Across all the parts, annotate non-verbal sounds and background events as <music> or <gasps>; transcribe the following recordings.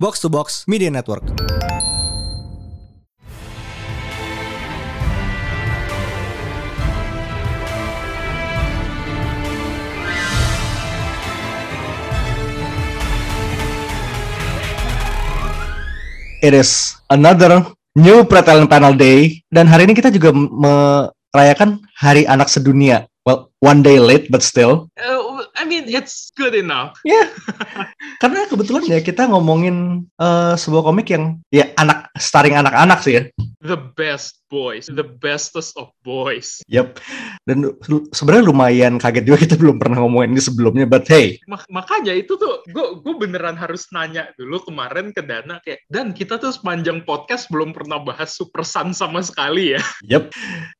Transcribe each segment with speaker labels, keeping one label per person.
Speaker 1: Box to Box Media Network.
Speaker 2: It is another new Pretalent Panel Day dan hari ini kita juga m- merayakan Hari Anak Sedunia. Well, one day late but still.
Speaker 3: Uh, I mean, it's good enough.
Speaker 2: Karena kebetulan ya kita ngomongin eh, sebuah komik yang ya anak starring anak-anak sih ya.
Speaker 3: The best boys, the bestest of boys.
Speaker 2: Yep. Dan lu- sebenarnya lumayan kaget juga kita belum pernah ngomongin ini sebelumnya but hey,
Speaker 3: Mak- makanya itu tuh, gue gue beneran harus nanya dulu kemarin ke Dana kayak, dan kita tuh sepanjang podcast belum pernah bahas Super Sun sama sekali ya.
Speaker 2: yep.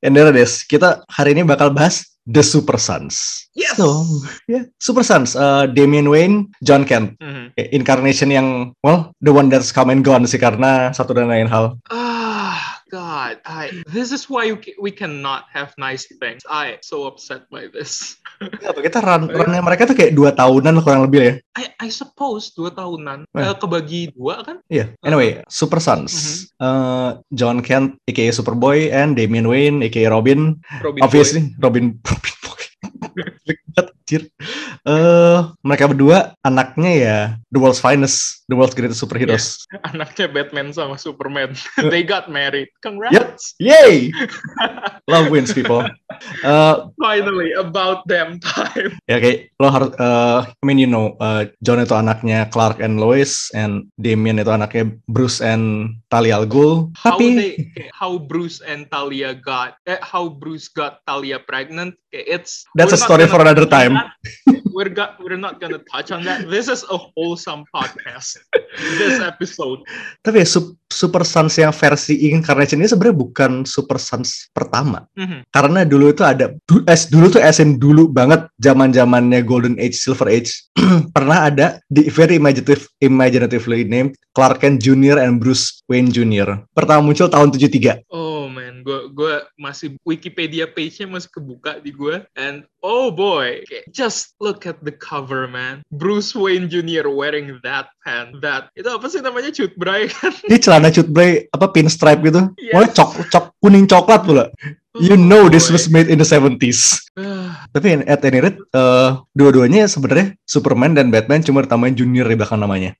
Speaker 2: And there it is. Kita hari ini bakal bahas The Super Sons.
Speaker 3: Yes.
Speaker 2: So, yeah, Super Sons, eh, Damian Wayne, John Kent.
Speaker 3: Mhm.
Speaker 2: Ya, incarnation yang well the one that's come and gone sih karena satu dan lain hal.
Speaker 3: Ah, God, I. This is why you ca- we cannot have nice things. I so upset by this.
Speaker 2: Apa kita run runnya mereka tuh kayak dua tahunan lah kurang lebih ya.
Speaker 3: I I suppose dua tahunan
Speaker 2: Eh.
Speaker 3: eh, kebagi dua kan?
Speaker 2: Iya. Anyway, Super
Speaker 3: Mhm.
Speaker 2: Sons, Eh, John Kent aka Superboy and Damian Wayne aka Robin.
Speaker 3: Robin Boy.
Speaker 2: Obviously Robin <laughs> Robin Boy. Jelek banget, anjir. Eh, mereka berdua anaknya ya the world's finest, the world's greatest superheroes.
Speaker 3: <laughs> anaknya Batman sama Superman. They got married. Congrats. <laughs>
Speaker 2: Yay! Love wins people. Eh,
Speaker 3: Finally, about damn time.
Speaker 2: ya kayak lo harus eh, I mean you know eh, John itu anaknya Clark and Lois and Damien itu anaknya Bruce and Talia al Ghul
Speaker 3: How
Speaker 2: tapi
Speaker 3: they, how Bruce and Talia got, eh, how Bruce got Talia pregnant. eh, It's
Speaker 2: That's
Speaker 3: we're
Speaker 2: a
Speaker 3: not
Speaker 2: story
Speaker 3: gonna
Speaker 2: for another
Speaker 3: touch
Speaker 2: time.
Speaker 3: on that. we're got, we're not gonna touch on that. This is a wholesome podcast. This episode.
Speaker 2: tapi ya, Sup- Super Sons yang versi Incarnation ini sebenarnya bukan Super Sons pertama
Speaker 3: Mhm.
Speaker 2: karena dulu itu ada du- es dulu tuh SN dulu banget zaman zamannya Golden Age Silver Age <clears throat> pernah ada di very imaginative imaginatively named Clark Kent Jr. and Bruce Wayne Jr. pertama muncul tahun 73
Speaker 3: Oh man, gue gua masih Wikipedia page-nya masih kebuka di gue. And oh boy, kayak, just look at the cover man. Bruce Wayne Jr. wearing that pant, that itu apa sih namanya cut Bray?
Speaker 2: Ini celana cutbray apa pinstripe gitu.
Speaker 3: Yes.
Speaker 2: Warna cok cok kuning coklat pula. You know this
Speaker 3: Oh,
Speaker 2: was made in the 70s.
Speaker 3: Ah.
Speaker 2: Tapi at any rate, eh, dua-duanya sebenarnya Superman dan Batman cuma ditambahin junior di belakang namanya.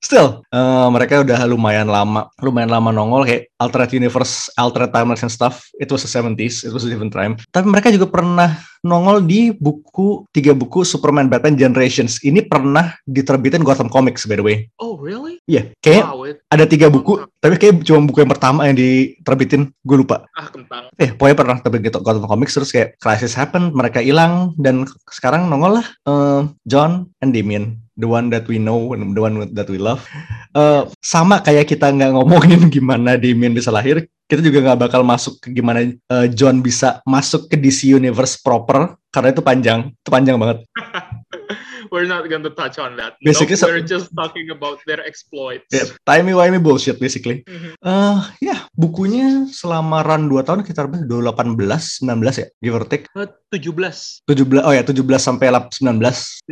Speaker 2: Still, eh, mereka udah lumayan lama, lumayan lama nongol kayak alternate universe, alternate timelines and stuff. It was the 70s, it was a different time. Tapi mereka juga pernah nongol di buku tiga buku Superman Batman Generations. Ini pernah diterbitin Gotham Comics by the way.
Speaker 3: Oh really?
Speaker 2: Iya, kayak
Speaker 3: Wow, it-
Speaker 2: ada tiga buku, tapi kayak cuma buku yang pertama yang diterbitin, gue lupa.
Speaker 3: ah kentang.
Speaker 2: Eh, pokoknya pernah terbit gitu Gotham Comics terus kayak crisis happen, mereka hilang dan sekarang nongol lah eh, John and Damien, the one that we know and the one that we love. Eh, sama kayak kita nggak ngomongin <laughs> gimana Damien bisa lahir, kita juga nggak bakal masuk ke gimana eh, John bisa masuk ke DC Universe proper karena itu panjang, itu panjang banget.
Speaker 3: <laughs> We're not going to touch on that.
Speaker 2: Basically,
Speaker 3: Nope,
Speaker 2: so-
Speaker 3: we're just talking about their exploits.
Speaker 2: Yeah, timey-wimey bullshit basically.
Speaker 3: Mhm.
Speaker 2: Eh ya, bukunya selama run 2 tahun sekitar berapa? 2018, 19 ya, give or take.
Speaker 3: Eh, 17,
Speaker 2: 17 oh ya 17 sampai lap- 19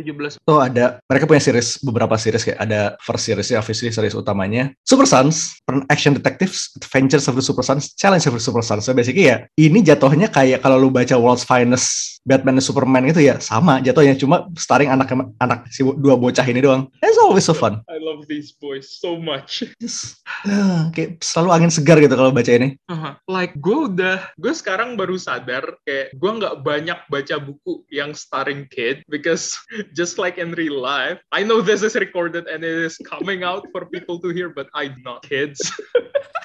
Speaker 3: 17.
Speaker 2: tuh Oh, ada mereka punya series beberapa series kayak ada first series obviously series utamanya Super Sons, pern- Action Detectives, Adventures of the Super Sons, Challenge of the Super Sons. So basically ya ini jatuhnya kayak kalau lu baca World's Finest Batman and Superman gitu ya sama jatuhnya cuma starring anak anak si bo- dua bocah ini doang. It's always so fun.
Speaker 3: I love these boys so much.
Speaker 2: Yes. Ah, kayak selalu angin segar gitu kalau baca ini.
Speaker 3: Uh-huh. Like gue udah, gue sekarang baru sadar kayak gue nggak banyak baca buku yang starring kid because <laughs> just like in real life, I know this is recorded and it is coming out for people to hear, but I'm not kids. <laughs>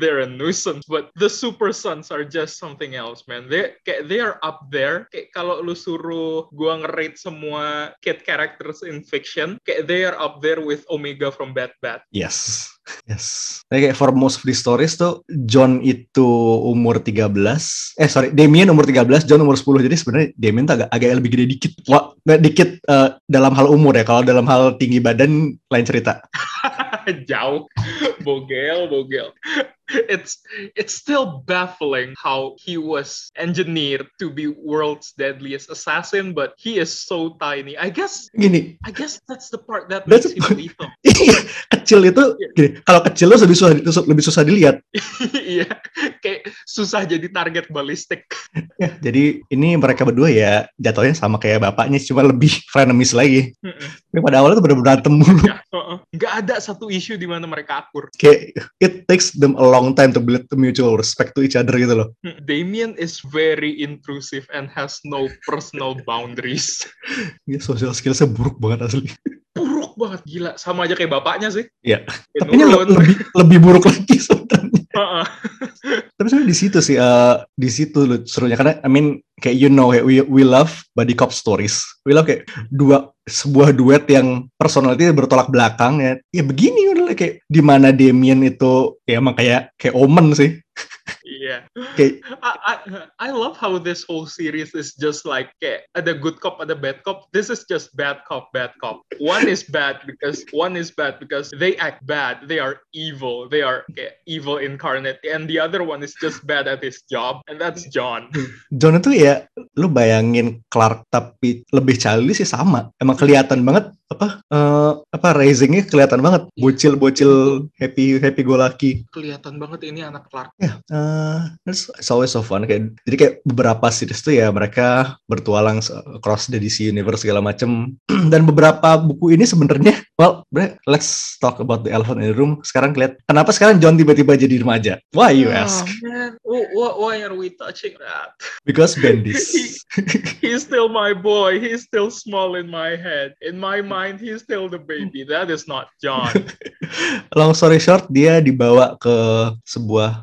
Speaker 3: They're a nuisance, but the super sons are just something else, man. They kayak they are up there. Kayak kalau lu suruh gua ngerate semua kid characters in fiction, kayak they are up there with Omega from Bat Bat.
Speaker 2: Yes. Yes. Jadi kayak for most of the stories tuh John itu umur 13, eh sorry, Damien umur 13, John umur 10. Jadi sebenarnya Damien tuh agak agak lebih gede dikit. Wah, nggak dikit eh, dalam hal umur ya. Kalau dalam
Speaker 3: <laughs>
Speaker 2: hal tinggi badan lain cerita.
Speaker 3: jauh bogel bogel it's it's still baffling how he was engineered to be world's deadliest assassin, but he is so tiny. I guess
Speaker 2: Gini, <laughs>
Speaker 3: I guess that's the part that
Speaker 2: That's
Speaker 3: makes him lethal. <laughs>
Speaker 2: kecil itu gini, kalau kecil lu lebih susah lebih susah dilihat.
Speaker 3: Iya, kayak susah jadi target balistik. <laughs>
Speaker 2: Ya, jadi ini mereka berdua ya jatuhnya sama kayak bapaknya cuma lebih <laughs> frenemies lagi.
Speaker 3: Mm-mm.
Speaker 2: Tapi pada awalnya tuh bener-bener berantem mulu.
Speaker 3: Ya, heeh. nggak ada satu isu di mana mereka akur.
Speaker 2: Kayak it takes them a long time to build the mutual respect to each other gitu loh.
Speaker 3: Hmm. Damien is very intrusive and has no personal boundaries. <laughs>
Speaker 2: Ya, social skillsnya buruk banget asli.
Speaker 3: Buruk banget gila, sama aja kayak bapaknya sih.
Speaker 2: Iya.
Speaker 3: Kayak
Speaker 2: Tapi
Speaker 3: Uh-uh.
Speaker 2: ini le-
Speaker 3: nurut.
Speaker 2: lebih lebih buruk lagi sebenarnya.
Speaker 3: Heeh.
Speaker 2: Tapi sebenarnya di situ sih, eh, di situ loh serunya karena I mean kayak you know kayak we we love buddy cop stories. We love kayak dua sebuah duet yang personality bertolak belakang ya. Ya begini udah lah, kayak di mana Damien itu ya emang kayak kayak Omen sih.
Speaker 3: Iya.
Speaker 2: Kayak
Speaker 3: I, I I love how this whole series is just like kayak ada good cop ada bad cop. This is just bad cop bad cop. One is bad because one is bad because they act bad. They are evil. They are kayak evil incarnate. And the other one is just bad at his job. And that's John.
Speaker 2: John itu ya lu bayangin Clark tapi lebih childish sih sama. Emang kelihatan banget apa eh, apa raisingnya kelihatan banget bocil-bocil happy happy go lucky.
Speaker 3: Kelihatan banget ini anak Clark.
Speaker 2: Ya, eh, it's, it's always so fun. Kayak, jadi kayak beberapa series tuh ya mereka bertualang se- across the DC universe segala macem. <clears throat> Dan beberapa buku ini sebenarnya, well, bre, let's talk about the elephant in the room. Sekarang lihat kenapa sekarang John tiba-tiba jadi remaja? Why you ask?
Speaker 3: Oh, man. Wh- wh- Why are we touching that?
Speaker 2: Because Bendis.
Speaker 3: He's still my boy. He's still small in my head. In my mind, he's still the baby. That is not John.
Speaker 2: Long story short, dia dibawa ke sebuah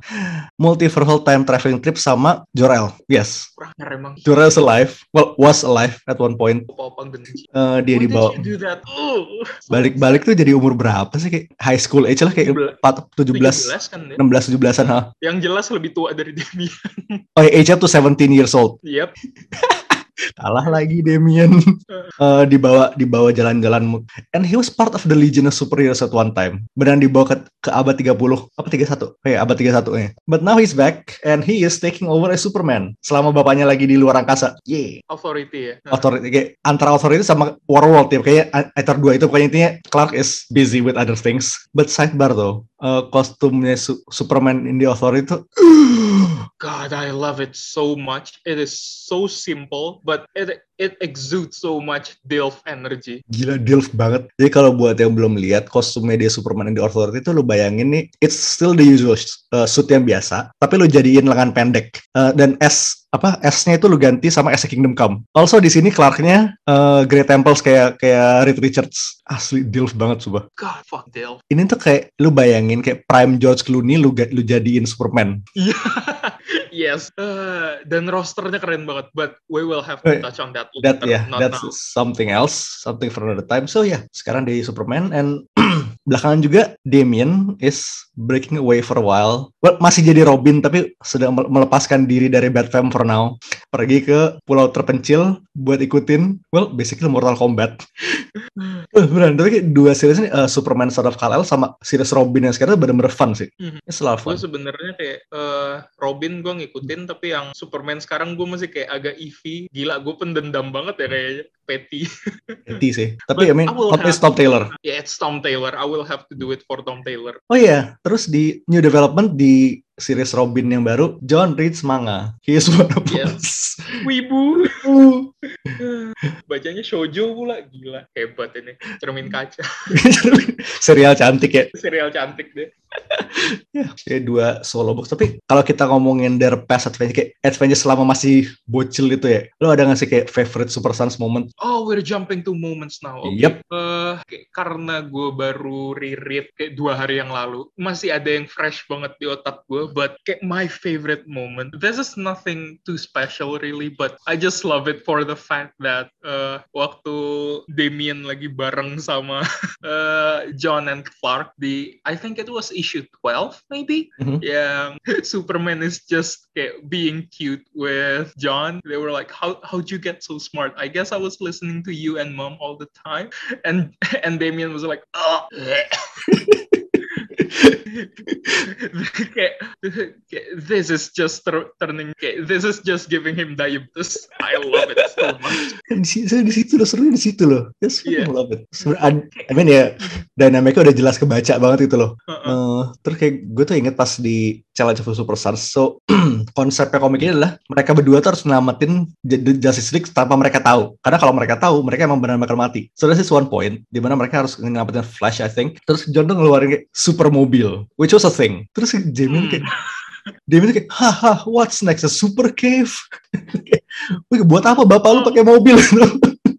Speaker 2: multiversal time traveling trip sama Jor-El. Yes,
Speaker 3: Kurang emang.
Speaker 2: Jor-El's alive. Well, was alive at one point.
Speaker 3: Apa-apa genji.
Speaker 2: Eh, dia
Speaker 3: Why
Speaker 2: dibawa
Speaker 3: did you do that? Oh.
Speaker 2: balik-balik tuh jadi umur berapa sih kayak high school age lah kayak 4, 17,
Speaker 3: 17 kan ya?
Speaker 2: 16, 17-an. ha.
Speaker 3: Yang jelas lebih tua dari Demi.
Speaker 2: Oh, ya, age-nya tuh 17 years old.
Speaker 3: <laughs> yep.
Speaker 2: Kalah lagi Damien. Eh, dibawa dibawa jalan-jalan and he was part of the Legion of Superheroes at one time. Benar dibawa ke, ke abad 30 apa 31? Oh, ya, abad 31 ya. But now he's back and he is taking over as Superman selama bapaknya lagi di luar angkasa. Yeay.
Speaker 3: Authority ya.
Speaker 2: Authority, kayak antara authority sama Warworld ya kayaknya either dua itu pokoknya intinya Clark is busy with other things but sidebar though eh, kostumnya Su- Superman in the authority itu
Speaker 3: God, I love it so much. It is so simple, but it it exudes so much Dilf energy.
Speaker 2: <gasps> gila DILF banget jadi kalau buat yang belum lihat kostumnya dia Superman in the authority itu lu bayangin nih it's still the usual eh, suit yang biasa tapi lu jadiin lengan pendek Eh, dan S apa S-nya itu lu ganti sama S Kingdom Come also di sini Clark-nya eh, Grey Temples kayak kayak Reed Richards asli DILF banget sumpah
Speaker 3: God, fuck Dilf.
Speaker 2: ini tuh kayak lu bayangin kayak prime George Clooney lu ga- lu jadiin Superman.
Speaker 3: Iya. yes. Eh, dan rosternya keren banget. But we will have to
Speaker 2: Eh,
Speaker 3: touch on that later.
Speaker 2: That ya,
Speaker 3: not
Speaker 2: that's
Speaker 3: now.
Speaker 2: something else, something for another time. So ya, sekarang dia Superman and <clears throat> belakangan juga Damien is breaking away for a while. Well, masih jadi Robin tapi sedang mel- melepaskan diri dari Batman for now. Pergi ke pulau terpencil buat ikutin well basically Mortal Kombat.
Speaker 3: Hmm.
Speaker 2: Eh, Beneran, tapi kayak dua series ini eh, Superman Son of Kal-El sama series Robin yang sekarang tuh bener-bener fun sih.
Speaker 3: Mhm.
Speaker 2: It's a lot of
Speaker 3: Gue
Speaker 2: fun.
Speaker 3: sebenarnya kayak eh, Robin gue ngikutin, tapi yang Superman sekarang gue masih kayak agak Eevee. Gila, gue pendendam banget ya kayaknya. Petty.
Speaker 2: Petty sih. Tapi I mean,
Speaker 3: I will
Speaker 2: plotnya
Speaker 3: have-
Speaker 2: Tom Taylor.
Speaker 3: yeah, Ya, it's Tom Taylor. I will have to do it for Tom Taylor.
Speaker 2: Oh iya, terus di new development di series Robin yang baru, John reads manga. He is one of us. <laughs>
Speaker 3: Wibu. Bacanya shoujo pula. Gila, hebat ini. Cermin kaca. <laughs>
Speaker 2: Serial cantik ya.
Speaker 3: Serial cantik deh.
Speaker 2: Ya, kayak dua solo box. Tapi kalau kita ngomongin their past adventure, kayak adventure selama masih bocil itu ya, lo ada nggak sih kayak favorite Super Sons moment?
Speaker 3: Oh, we're jumping to moments now. Oke.
Speaker 2: Yep.
Speaker 3: Eh, kayak karena gue baru reread kayak dua hari yang lalu, masih ada yang fresh banget di otak gue. But kayak my favorite moment. This is nothing too special really, but I just love it for the fact that eh, waktu Damien lagi bareng sama eh, John and Clark di, I think it was issue 12 maybe,
Speaker 2: Mhm.
Speaker 3: yang <laughs> Superman is just kayak being cute with John. They were like, "How how'd you get so smart? I guess I was listening to you <laughs> and mom all the time." And and Damien was like, "Oh." kayak, kayak, this is just ter- turning kayak, this is just giving him diabetes I love it so much
Speaker 2: Kan <laughs> di si- saya di situ loh, serunya di situ loh. That's fucking
Speaker 3: Iya.
Speaker 2: love it. Sebenernya, an- I mean ya, dinamiknya udah jelas kebaca banget itu loh.
Speaker 3: Heeh.
Speaker 2: Eh, terus kayak gue tuh inget pas di Challenge of the Superstars. So, <clears throat> konsepnya komiknya adalah mereka berdua tuh harus nyelamatin J- The Justice League tanpa mereka tahu. Karena kalau mereka tahu, mereka emang benar bakal mati. So, this is one point di mana mereka harus nyelamatin Flash, I think. Terus John tuh ngeluarin kayak super mobil, which was a thing. Terus
Speaker 3: Mm.
Speaker 2: Jamie kayak, Jamie tuh kayak, haha, what's next? A super cave? <laughs> Kayak, "Wih, buat apa bapak lu pakai mobil? <laughs>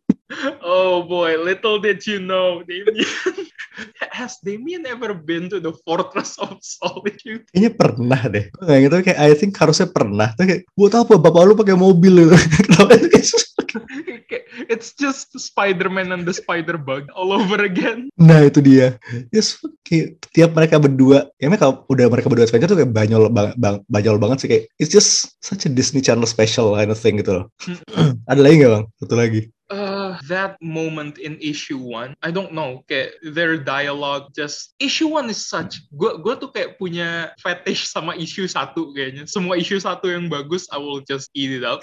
Speaker 3: oh boy little did you know Damien <laughs> has Damien ever been to the fortress of solitude <laughs>
Speaker 2: Kayaknya pernah deh. Gue nggak gitu kayak I think harusnya pernah. Tapi kayak buat apa bapak lu pakai mobil <laughs> gitu. Kenapa itu kayak sus-
Speaker 3: Kayak, it's just Spider-Man and the Spider-Bug all over again
Speaker 2: Nah itu dia. Yes, kayak tiap mereka berdua, ya emang kalau udah mereka berdua adventure tuh kayak banyol banget, bang, banyol banget sih kayak it's just such a Disney Channel special kind of thing gitu loh. <clears throat> Ada lagi nggak bang? Satu lagi.
Speaker 3: Uh, that moment in issue one, I don't know, kayak their dialogue just issue one is such. Gue gue tuh kayak punya fetish sama issue satu kayaknya. Semua issue satu yang bagus, I will just eat it up.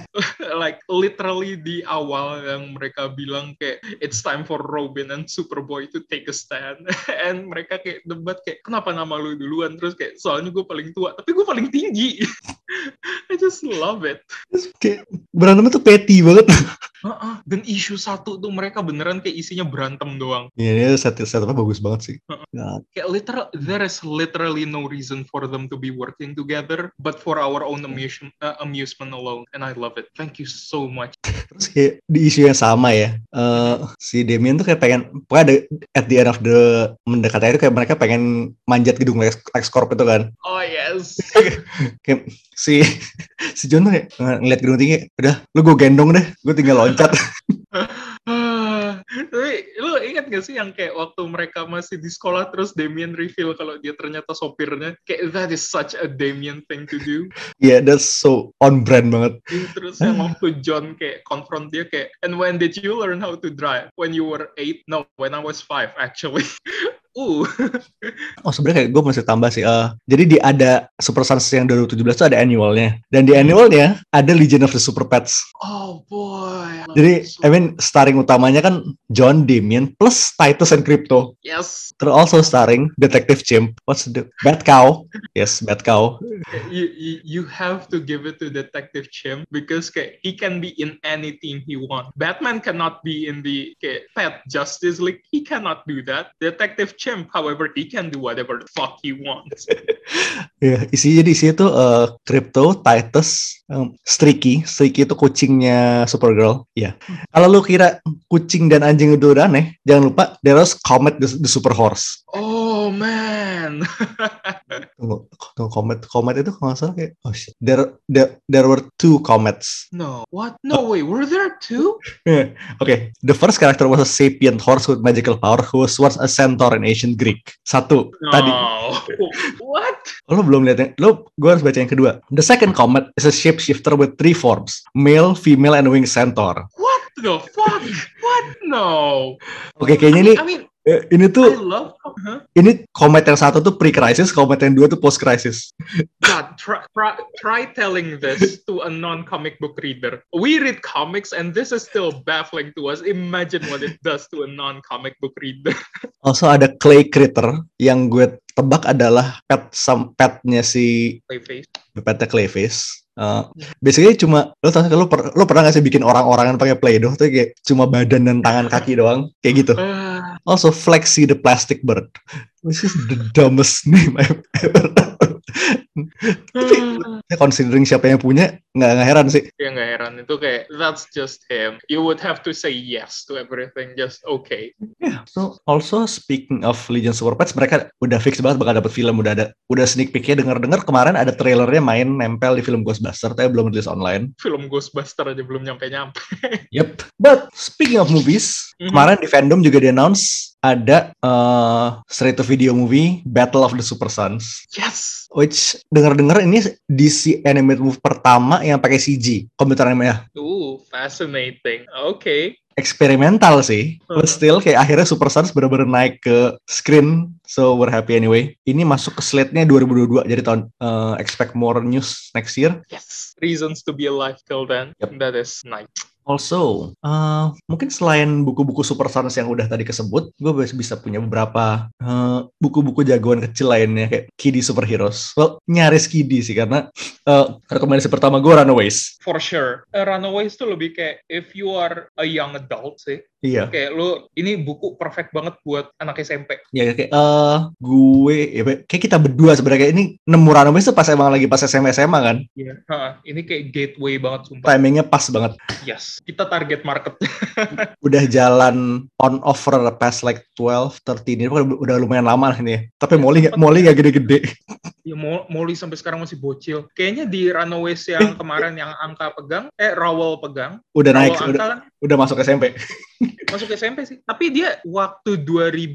Speaker 3: <laughs> like literally di awal yang mereka bilang kayak it's time for Robin and Superboy to take a stand, <laughs> and mereka kayak debat kayak kenapa nama lu duluan terus kayak soalnya gue paling tua, tapi gue paling tinggi. <laughs> I just love it.
Speaker 2: Terus Kayak berantemnya tuh petty banget. <laughs>
Speaker 3: Heeh, Dan isu satu tuh mereka beneran kayak isinya berantem doang.
Speaker 2: Iya, ini set setupnya bagus banget sih. Nah,
Speaker 3: Kayak literal, there is literally no reason for them to be working together, but for our own amusement, uh, amusement alone. And I love it. Thank you so much.
Speaker 2: terus kayak di isu yang sama ya. eh, si Damien tuh kayak pengen, pokoknya ada at the end of the mendekati akhir kayak mereka pengen manjat gedung Lex, Corp itu kan.
Speaker 3: Oh yes. <sighs>
Speaker 2: kayak si <laughs> si John tuh kayak ng- ngeliat gedung tinggi udah lu gue gendong deh gue tinggal loncat
Speaker 3: Ah, Tapi lu ingat gak sih yang kayak waktu mereka masih di sekolah terus Damien reveal kalau dia ternyata sopirnya? Kayak that is such a Damien thing to do.
Speaker 2: ya yeah, that's so on brand banget
Speaker 3: <laughs> Terus yang waktu John kayak confront dia kayak, and when did you learn how to drive? When you were eight? No, when I was five actually. <laughs> Ooh,
Speaker 2: oh sebenarnya kayak gue masih tambah sih Eh, jadi di ada Super Sons yang 2017 tuh ada annualnya dan di annualnya ada Legion of the Super Pets
Speaker 3: oh boy.
Speaker 2: jadi I mean starring utamanya kan John Damien plus Titus and Crypto
Speaker 3: yes,
Speaker 2: terus also starring Detective Chimp what's the Bad Cow yes Bad Cow
Speaker 3: you, you you have to give it to Detective Chimp because kayak, he can be in any team he wants. Batman cannot be in the kayak, Pet Justice League. He cannot do that. Detective Chimp, however, he can do whatever the fuck he wants.
Speaker 2: Ya, isinya jadi isinya tuh eh, Crypto, Titus, em, Streaky. Streaky itu kucingnya Supergirl. Ya. Kalau lu kira kucing dan anjing itu udah aneh, jangan lupa there was Comet the, the Super Horse.
Speaker 3: <laughs> Oh man.
Speaker 2: Tunggu, tunggu, Comet, Comet itu kalau nggak salah kayak oh shit. There, there, there were two comets.
Speaker 3: no. What? No way. Were there two?
Speaker 2: Oke, the first character was a sapient horse with magical power who was once a centaur in ancient Greek. Satu,
Speaker 3: Oh.
Speaker 2: tadi.
Speaker 3: No. what?
Speaker 2: Lo belum lihat yang, lo gue harus baca yang kedua. The second comet is a shapeshifter with three forms, male, female, and winged centaur.
Speaker 3: What the fuck? What? No.
Speaker 2: Oke, kayaknya ini
Speaker 3: I mean,
Speaker 2: eh, ini
Speaker 3: I
Speaker 2: tuh
Speaker 3: love. Huh?
Speaker 2: ini komet yang satu tuh pre crisis, komet yang dua tuh post crisis.
Speaker 3: God, try, try, try telling this to a non-comic book reader. We read comics, and this is still baffling to us. Imagine what it does to a non-comic book
Speaker 2: <laughs>
Speaker 3: reader.
Speaker 2: Also ada clay critter yang gue tebak adalah pet sam petnya si
Speaker 3: Clayface.
Speaker 2: petnya Clayface. Eh, basically cuma lo tau lo, per- lo pernah gak sih bikin orang-orangan pakai play-doh tuh kayak cuma badan dan tangan kaki doang kayak gitu.
Speaker 3: Ah,
Speaker 2: Also Flexi the plastic bird, which is the dumbest <laughs> name I've ever heard. Ya,
Speaker 3: ah.
Speaker 2: Considering siapa yang punya nggak nggak heran sih.
Speaker 3: ya nggak heran itu kayak that's just him. You would have to say yes to everything. Just okay.
Speaker 2: Yeah. So also speaking of Legion Super Pets, mereka udah fix banget bakal dapet film, udah ada, udah sneak peeknya dengar-dengar kemarin ada trailernya main nempel di film Ghostbuster, tapi belum rilis online.
Speaker 3: Film Ghostbuster aja belum nyampe-nyampe.
Speaker 2: Yep. But speaking of movies,
Speaker 3: Mhm.
Speaker 2: kemarin di fandom juga di announce ada eh, straight to video movie Battle of the Super Sons,
Speaker 3: Yes.
Speaker 2: which dengar-dengar ini DC animated movie pertama yang pakai CG komputer animasi.
Speaker 3: Ooh, fascinating. Okay.
Speaker 2: eksperimental sih. But still kayak akhirnya Super Sons bener-bener naik ke screen. So we're happy anyway. Ini masuk ke slate-nya 2022. Jadi tahun eh, expect more news next year.
Speaker 3: Yes, reasons to be alive till then.
Speaker 2: Yep.
Speaker 3: That is nice.
Speaker 2: Also, eh, mungkin selain buku-buku Super Sons yang udah tadi kesebut, gue bisa punya beberapa eh, buku-buku jagoan kecil lainnya kayak Kiddy Superheroes. Well, nyaris Kiddy sih karena eh, rekomendasi pertama gue Runaways.
Speaker 3: For sure. Eh, Runaways tuh lebih kayak if you are a young adult sih.
Speaker 2: Iya,
Speaker 3: Kayak lu ini buku perfect banget buat anak SMP.
Speaker 2: ya kayak eh, gue, ya, kayak kita berdua sebenarnya kayak ini nemu Runaways tuh pas emang lagi pas SMA SMA kan,
Speaker 3: Iya. ini kayak gateway banget sumpah.
Speaker 2: timingnya pas banget.
Speaker 3: Yes. Kita target market. <laughs>
Speaker 2: Udah jalan on off for the past like 12, 13 ini udah udah lumayan lama lah ini. ya. Tapi Molly nggak- Molly gak gede-gede.
Speaker 3: ya Mo- Molly sampai sekarang masih bocil. Kayaknya di Runaways
Speaker 2: <laughs>
Speaker 3: yang kemarin yang angka pegang, eh Rawal pegang.
Speaker 2: Udah naik,
Speaker 3: Rawal angka
Speaker 2: udah,
Speaker 3: kan
Speaker 2: udah masuk SMP.
Speaker 3: masuk SMP sih. Tapi dia waktu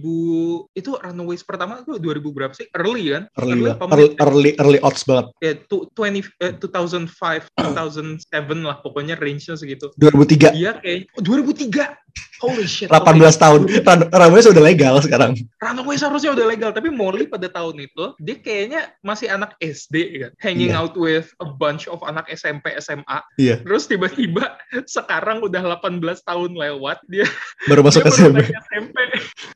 Speaker 3: 2000 itu Runaways pertama itu 2000 berapa sih? Early kan?
Speaker 2: early,
Speaker 3: early,
Speaker 2: banget.
Speaker 3: apa
Speaker 2: early,
Speaker 3: mid?
Speaker 2: early, early odds banget.
Speaker 3: ya tu- 20 eh, 2005 2007 lah pokoknya range-nya segitu.
Speaker 2: 2003,
Speaker 3: Dia kayak oh, 2003. Holy shit.
Speaker 2: 18 tahun. Run- Runways udah legal sekarang.
Speaker 3: Runaways harusnya udah legal, tapi Molly pada tahun itu dia kayaknya masih anak SD kan, hanging
Speaker 2: Iya.
Speaker 3: out with a bunch of anak SMP, SMA.
Speaker 2: Iya.
Speaker 3: Terus tiba-tiba <laughs> sekarang udah 18 tahun lewat, dia
Speaker 2: Baru masuk
Speaker 3: dia baru
Speaker 2: SMP.
Speaker 3: naik SMP.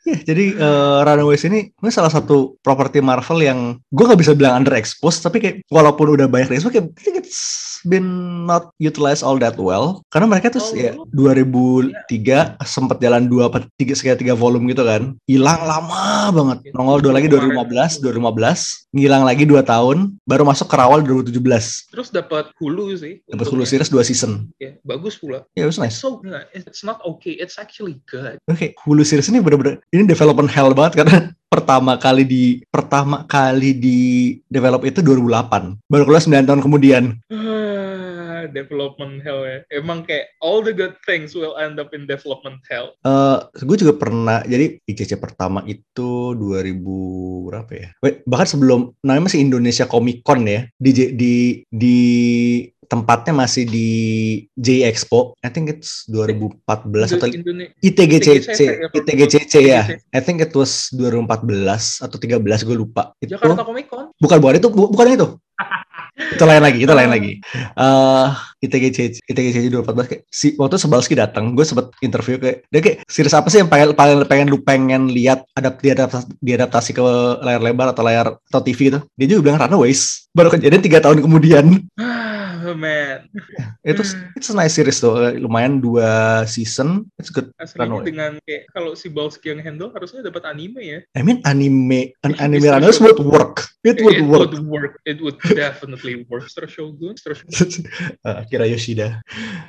Speaker 2: Iya, jadi eh, Runaways ini ini salah satu properti Marvel yang gue nggak bisa bilang underexposed, tapi kayak walaupun udah banyak di expose, kayak I think it's been not utilized all that well. Karena mereka tuh
Speaker 3: Oh. Iya.
Speaker 2: ya 2003 sempat jalan dua apa tiga sekitar tiga volume gitu kan, hilang lama banget. Nongol dua lagi 2015, 2015, ngilang lagi dua tahun, baru masuk ke awal 2017.
Speaker 3: Terus dapat Hulu sih.
Speaker 2: Dapat
Speaker 3: untungnya.
Speaker 2: Hulu series dua season.
Speaker 3: Ya, bagus pula.
Speaker 2: Ya, it was nice.
Speaker 3: It's so good. It's not okay. It's actually good.
Speaker 2: Oke, Hulu series ini bener-bener ini development hell banget karena <laughs> pertama kali di pertama kali di develop itu 2008. Baru keluar 9 tahun kemudian.
Speaker 3: Ah, development hell ya. Emang kayak all the good things will end up in development hell.
Speaker 2: Eh, gue juga pernah jadi ICC pertama itu 2000 berapa ya? Wait, bahkan sebelum namanya masih Indonesia Comic Con ya. Di J- di di tempatnya masih di J Expo. I think it's 2014 atau
Speaker 3: Indone-
Speaker 2: ITGCC,
Speaker 3: ITGCC,
Speaker 2: ITGCC ya. I think it was 2014 atau 13 gue lupa. Itu
Speaker 3: Jakarta Comic Con.
Speaker 2: bukan bukan itu bu- bukan
Speaker 3: <laughs>
Speaker 2: itu itu lain lagi itu lain lagi eh ITGC ITGC 2014 kayak si waktu itu Sebalski datang gue sempet interview kayak dia kayak series apa sih yang pengen pengen, pengen lu pengen lihat adapt diadaptasi, diadaptasi ke layar lebar atau layar atau TV itu dia juga bilang Runaways baru kejadian tiga tahun kemudian <laughs>
Speaker 3: Ah, man.
Speaker 2: itu
Speaker 3: Hmm.
Speaker 2: it's a nice series tuh eh, lumayan dua season it's good
Speaker 3: Aslinya
Speaker 2: Runaway.
Speaker 3: dengan kayak kalau si Balski yang handle harusnya dapat anime ya.
Speaker 2: I mean anime an
Speaker 3: It's-
Speaker 2: anime
Speaker 3: it's a
Speaker 2: Runaways
Speaker 3: show.
Speaker 2: would work it would work <laughs>
Speaker 3: would work. It would definitely work. Star Shogun, Star Shogun.
Speaker 2: Eh, Akira Yoshida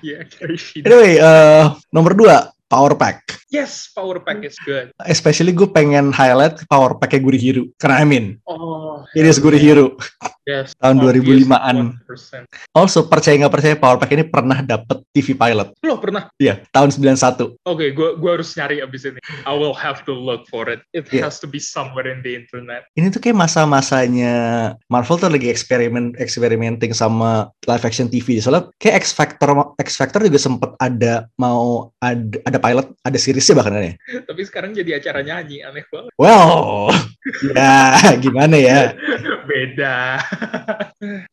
Speaker 3: Yeah, <laughs> Kirishida.
Speaker 2: Anyway, eh nomor dua, Power Pack.
Speaker 3: Yes, Power Pack is good.
Speaker 2: Especially gue pengen highlight Power Pack-nya Gurihiru. Karena I mean,
Speaker 3: Oh,
Speaker 2: ini is Gurihiru.
Speaker 3: yes.
Speaker 2: Tahun
Speaker 3: Obvious
Speaker 2: 2005-an.
Speaker 3: 1%.
Speaker 2: Also, percaya nggak percaya, Power Pack ini pernah dapet TV pilot.
Speaker 3: Lo pernah?
Speaker 2: Iya, tahun 91.
Speaker 3: Oke, gua gua harus nyari abis ini. I will have to look for it. It
Speaker 2: Yeah.
Speaker 3: has to be somewhere in the internet. <laughs>
Speaker 2: Ini tuh kayak masa-masanya Marvel tuh lagi eksperimen experimenting sama live action TV. Soalnya kayak X Factor X Factor juga sempet ada mau ada, ada pilot, ada seriesnya bahkan ya.
Speaker 3: Tapi sekarang jadi acara nyanyi, aneh banget.
Speaker 2: Well, <laughs> ya gimana ya?
Speaker 3: Beda.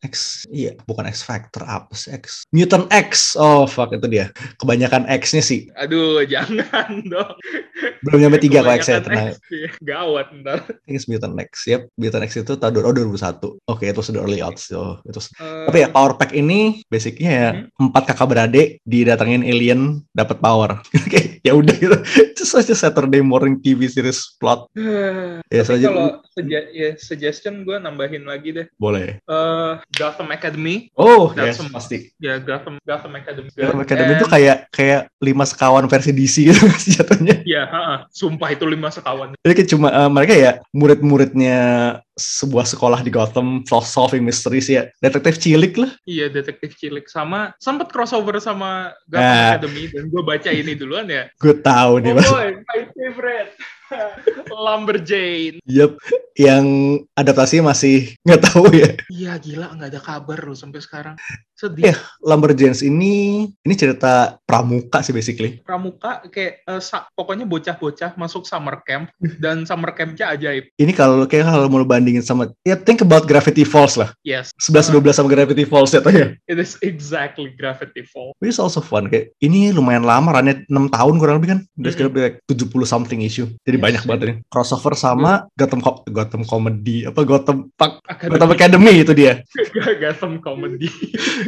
Speaker 2: X iya bukan X Factor apa sih X Mutant X oh fuck itu dia kebanyakan X-nya sih
Speaker 3: Aduh, <laughs> jangan dong.
Speaker 2: belum nyampe tiga kok X ya
Speaker 3: Kebanyakan
Speaker 2: tenang
Speaker 3: X, <laughs> iya. Gawat ntar.
Speaker 2: I think it's Mutant X yep Mutant X itu tahun oh, 2001 oke itu sudah early odds so itu
Speaker 3: Eh,
Speaker 2: tapi ya power pack ini basicnya ya
Speaker 3: Hmm.
Speaker 2: empat kakak beradik didatengin alien dapat power <laughs> Oke, ya udah gitu just aja Saturday morning TV series plot ya
Speaker 3: Eh, Tapi
Speaker 2: saja
Speaker 3: kalau suge- ya, suggestion gue nambahin lagi deh.
Speaker 2: boleh
Speaker 3: Eh, Gotham Academy.
Speaker 2: oh ya
Speaker 3: That's
Speaker 2: yes,
Speaker 3: some-
Speaker 2: pasti
Speaker 3: Ya, Gotham, Gotham Academy.
Speaker 2: Film Academy itu
Speaker 3: And-
Speaker 2: kayak kayak lima sekawan versi DC gitu <laughs> jatuhnya
Speaker 3: Ya, ha-ha. sumpah itu lima sekawan.
Speaker 2: Jadi kayak cuma eh, mereka ya murid-muridnya sebuah sekolah di Gotham sol- solving mysteries ya detektif cilik lah.
Speaker 3: Iya, detektif cilik sama sempat crossover sama Gotham
Speaker 2: Ah.
Speaker 3: Academy dan gue baca ini duluan ya.
Speaker 2: Gue tahu nih
Speaker 3: Oh
Speaker 2: mas.
Speaker 3: boy, my favorite. <laughs> Lumberjane.
Speaker 2: Yep, yang adaptasi masih nggak tahu ya.
Speaker 3: Iya gila nggak ada kabar loh sampai sekarang.
Speaker 2: Iya.
Speaker 3: Sedih.
Speaker 2: Lumberjanes ini ini cerita pramuka sih basically.
Speaker 3: Pramuka kayak eh, sa- pokoknya bocah-bocah masuk summer camp dan summer campnya ajaib.
Speaker 2: Ini kalau kayak kalau mau bandingin sama ya think about Gravity Falls lah.
Speaker 3: Yes,
Speaker 2: 11 12 sama Gravity Falls ya tuh ya.
Speaker 3: it is exactly Gravity Falls.
Speaker 2: Which is also fun kayak ini lumayan lama runnya 6 tahun kurang lebih kan. Udah sekitar like 70 something issue. Jadi
Speaker 3: Yes.
Speaker 2: banyak banget ini. Crossover sama Gotham Co- Gotham Comedy apa Gotham Pak Gotham Academy
Speaker 3: Academy
Speaker 2: itu dia.
Speaker 3: Gotham Comedy.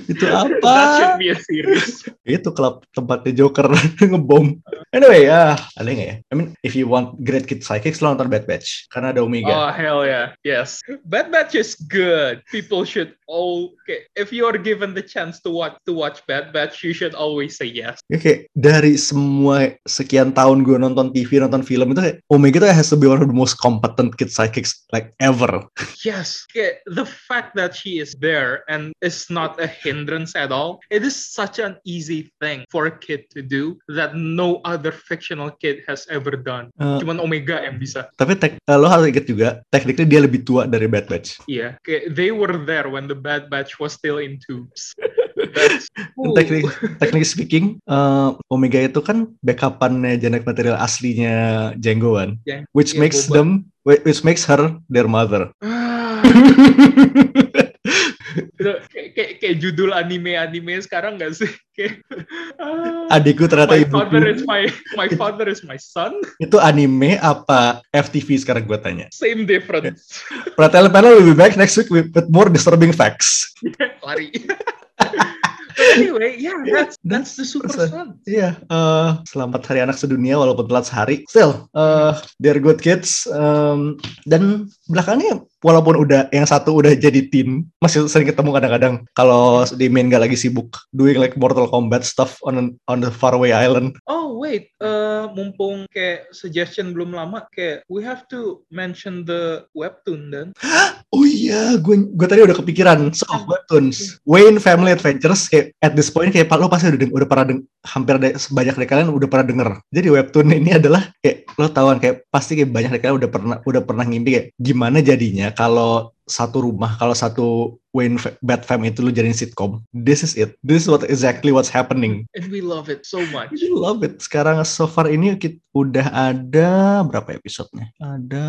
Speaker 2: Itu
Speaker 3: That should
Speaker 2: apa?
Speaker 3: be a series.
Speaker 2: itu klub tempatnya Joker <laughs> ngebom. Anyway, ah, ada nggak ya? I mean, if you want great kid psychics, lo nonton Bad Batch karena ada Omega.
Speaker 3: Oh hell yeah, yes. Bad Batch is good. People should all okay, if you are given the chance to watch to watch Bad Batch, you should always say yes.
Speaker 2: Ya, kayak dari semua sekian tahun gue nonton TV, nonton film itu kayak Omega tuh has to be one of the most competent kid psychics like ever.
Speaker 3: Yes, okay, the fact that she is there and is not a hindrance at all, it is such an easy thing for a kid to do that no other fictional kid has ever done.
Speaker 2: Eh,
Speaker 3: Cuman Omega yang bisa.
Speaker 2: tapi tek- eh, lo harus inget juga, tekniknya dia lebih tua dari Bad Batch.
Speaker 3: Iya, okay, they were there when the Bad Batch was still in tubes. That's
Speaker 2: Dan Teknik, teknik speaking, eh, Omega itu kan backupannya genetic material aslinya Django kan,
Speaker 3: Jeng-
Speaker 2: which
Speaker 3: Django Iya,
Speaker 2: makes
Speaker 3: Boba.
Speaker 2: them, which makes her their mother.
Speaker 3: <laughs> Ah, kayak, kayak, kayak judul anime-anime sekarang nggak sih? <laughs> Kayak, ah,
Speaker 2: adikku ternyata
Speaker 3: my
Speaker 2: ibuku.
Speaker 3: father is my my father is my son.
Speaker 2: itu anime apa FTV sekarang gue tanya
Speaker 3: Same difference.
Speaker 2: Pratel Panel will be back next week with, with more disturbing facts
Speaker 3: Lari. <laughs> But anyway, yeah, that's that's the super
Speaker 2: That's-
Speaker 3: son.
Speaker 2: iya eh, selamat hari anak sedunia walaupun telat sehari still eh, they're good kids Em, dan belakangnya walaupun udah yang satu udah jadi tim masih sering ketemu kadang-kadang kalau di main gak lagi sibuk doing like Mortal Kombat stuff on an- on the faraway island
Speaker 3: Oh wait, eh, mumpung kayak suggestion belum lama, kayak we have to mention the webtoon dan.
Speaker 2: oh iya gue gue tadi udah kepikiran so Webtoons Wayne Family Adventures kayak at this point kayak lo pasti udah deng- udah pernah deng- hampir ada, sebanyak dari kalian udah pernah denger jadi webtoon ini adalah kayak lo tahuan kayak pasti kayak banyak dari kalian udah pernah udah pernah ngimpi kayak gimana jadinya kalau satu rumah kalau satu Wayne Fa- Bad Fam itu lo jadiin sitcom this is it this is what exactly what's happening
Speaker 3: And we love it so much.
Speaker 2: I love it. Sekarang so far ini kita udah ada berapa episodenya? Ada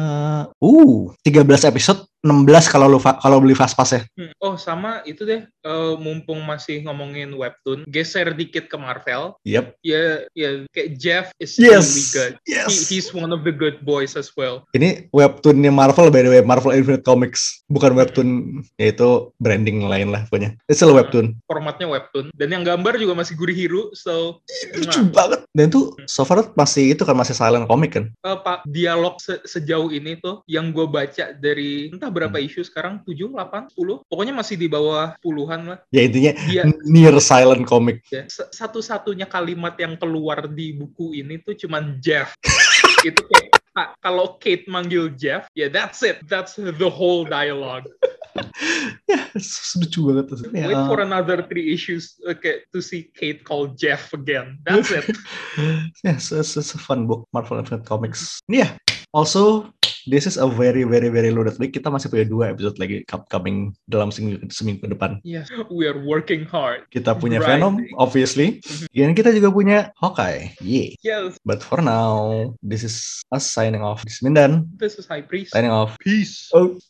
Speaker 2: uh 13 episode, 16 kalau lu fa- kalau beli fast pass ya.
Speaker 3: <laughs> Hmm. Oh sama itu deh, eh, mumpung masih ngomongin webtoon, geser dikit ke Marvel.
Speaker 2: Yep.
Speaker 3: Ya, ya kayak Jeff is really
Speaker 2: Yes.
Speaker 3: good. Oh He-
Speaker 2: Yes.
Speaker 3: he's one of the good boys as well.
Speaker 2: Ini webtoonnya Marvel by the way, Marvel Infinite Comics. Bukan webtoon yaitu branding lain lah punya. It's still a webtoon.
Speaker 3: Formatnya webtoon dan yang gambar juga masih gurih hiru. So
Speaker 2: Lucu banget. Dan tuh so far masih itu kan masih silent comic kan.
Speaker 3: eh, Pak dialog se- sejauh ini tuh yang gue baca dari entah berapa isu sekarang 7, 8, 10. Pokoknya masih di bawah puluhan lah.
Speaker 2: Ya intinya
Speaker 3: Dia
Speaker 2: near silent comic. <laughs>
Speaker 3: Ya, se- satu-satunya kalimat yang keluar di buku ini tuh cuman Jeff. itu kayak Ka- kalau Kate manggil Jeff, ya that's it. That's the whole dialogue.
Speaker 2: It's Lucu banget. Ya,
Speaker 3: Wait for another three issues okay, to see Kate call Jeff again. That's it.
Speaker 2: yeah, so it's, it's a fun book, Marvel Infinite Comics. Yeah. Also, this is a very very very loaded week. Kita masih punya dua episode lagi upcoming dalam seminggu, seminggu ke depan.
Speaker 3: yes, we are working hard.
Speaker 2: Kita punya
Speaker 3: Right.
Speaker 2: Venom, obviously. Dan kita juga punya Hawkeye. Yeah.
Speaker 3: Yes,
Speaker 2: But for now, this is us signing off. This is Mindan
Speaker 3: this is High Priest.
Speaker 2: signing off.
Speaker 3: Peace.
Speaker 2: Oh.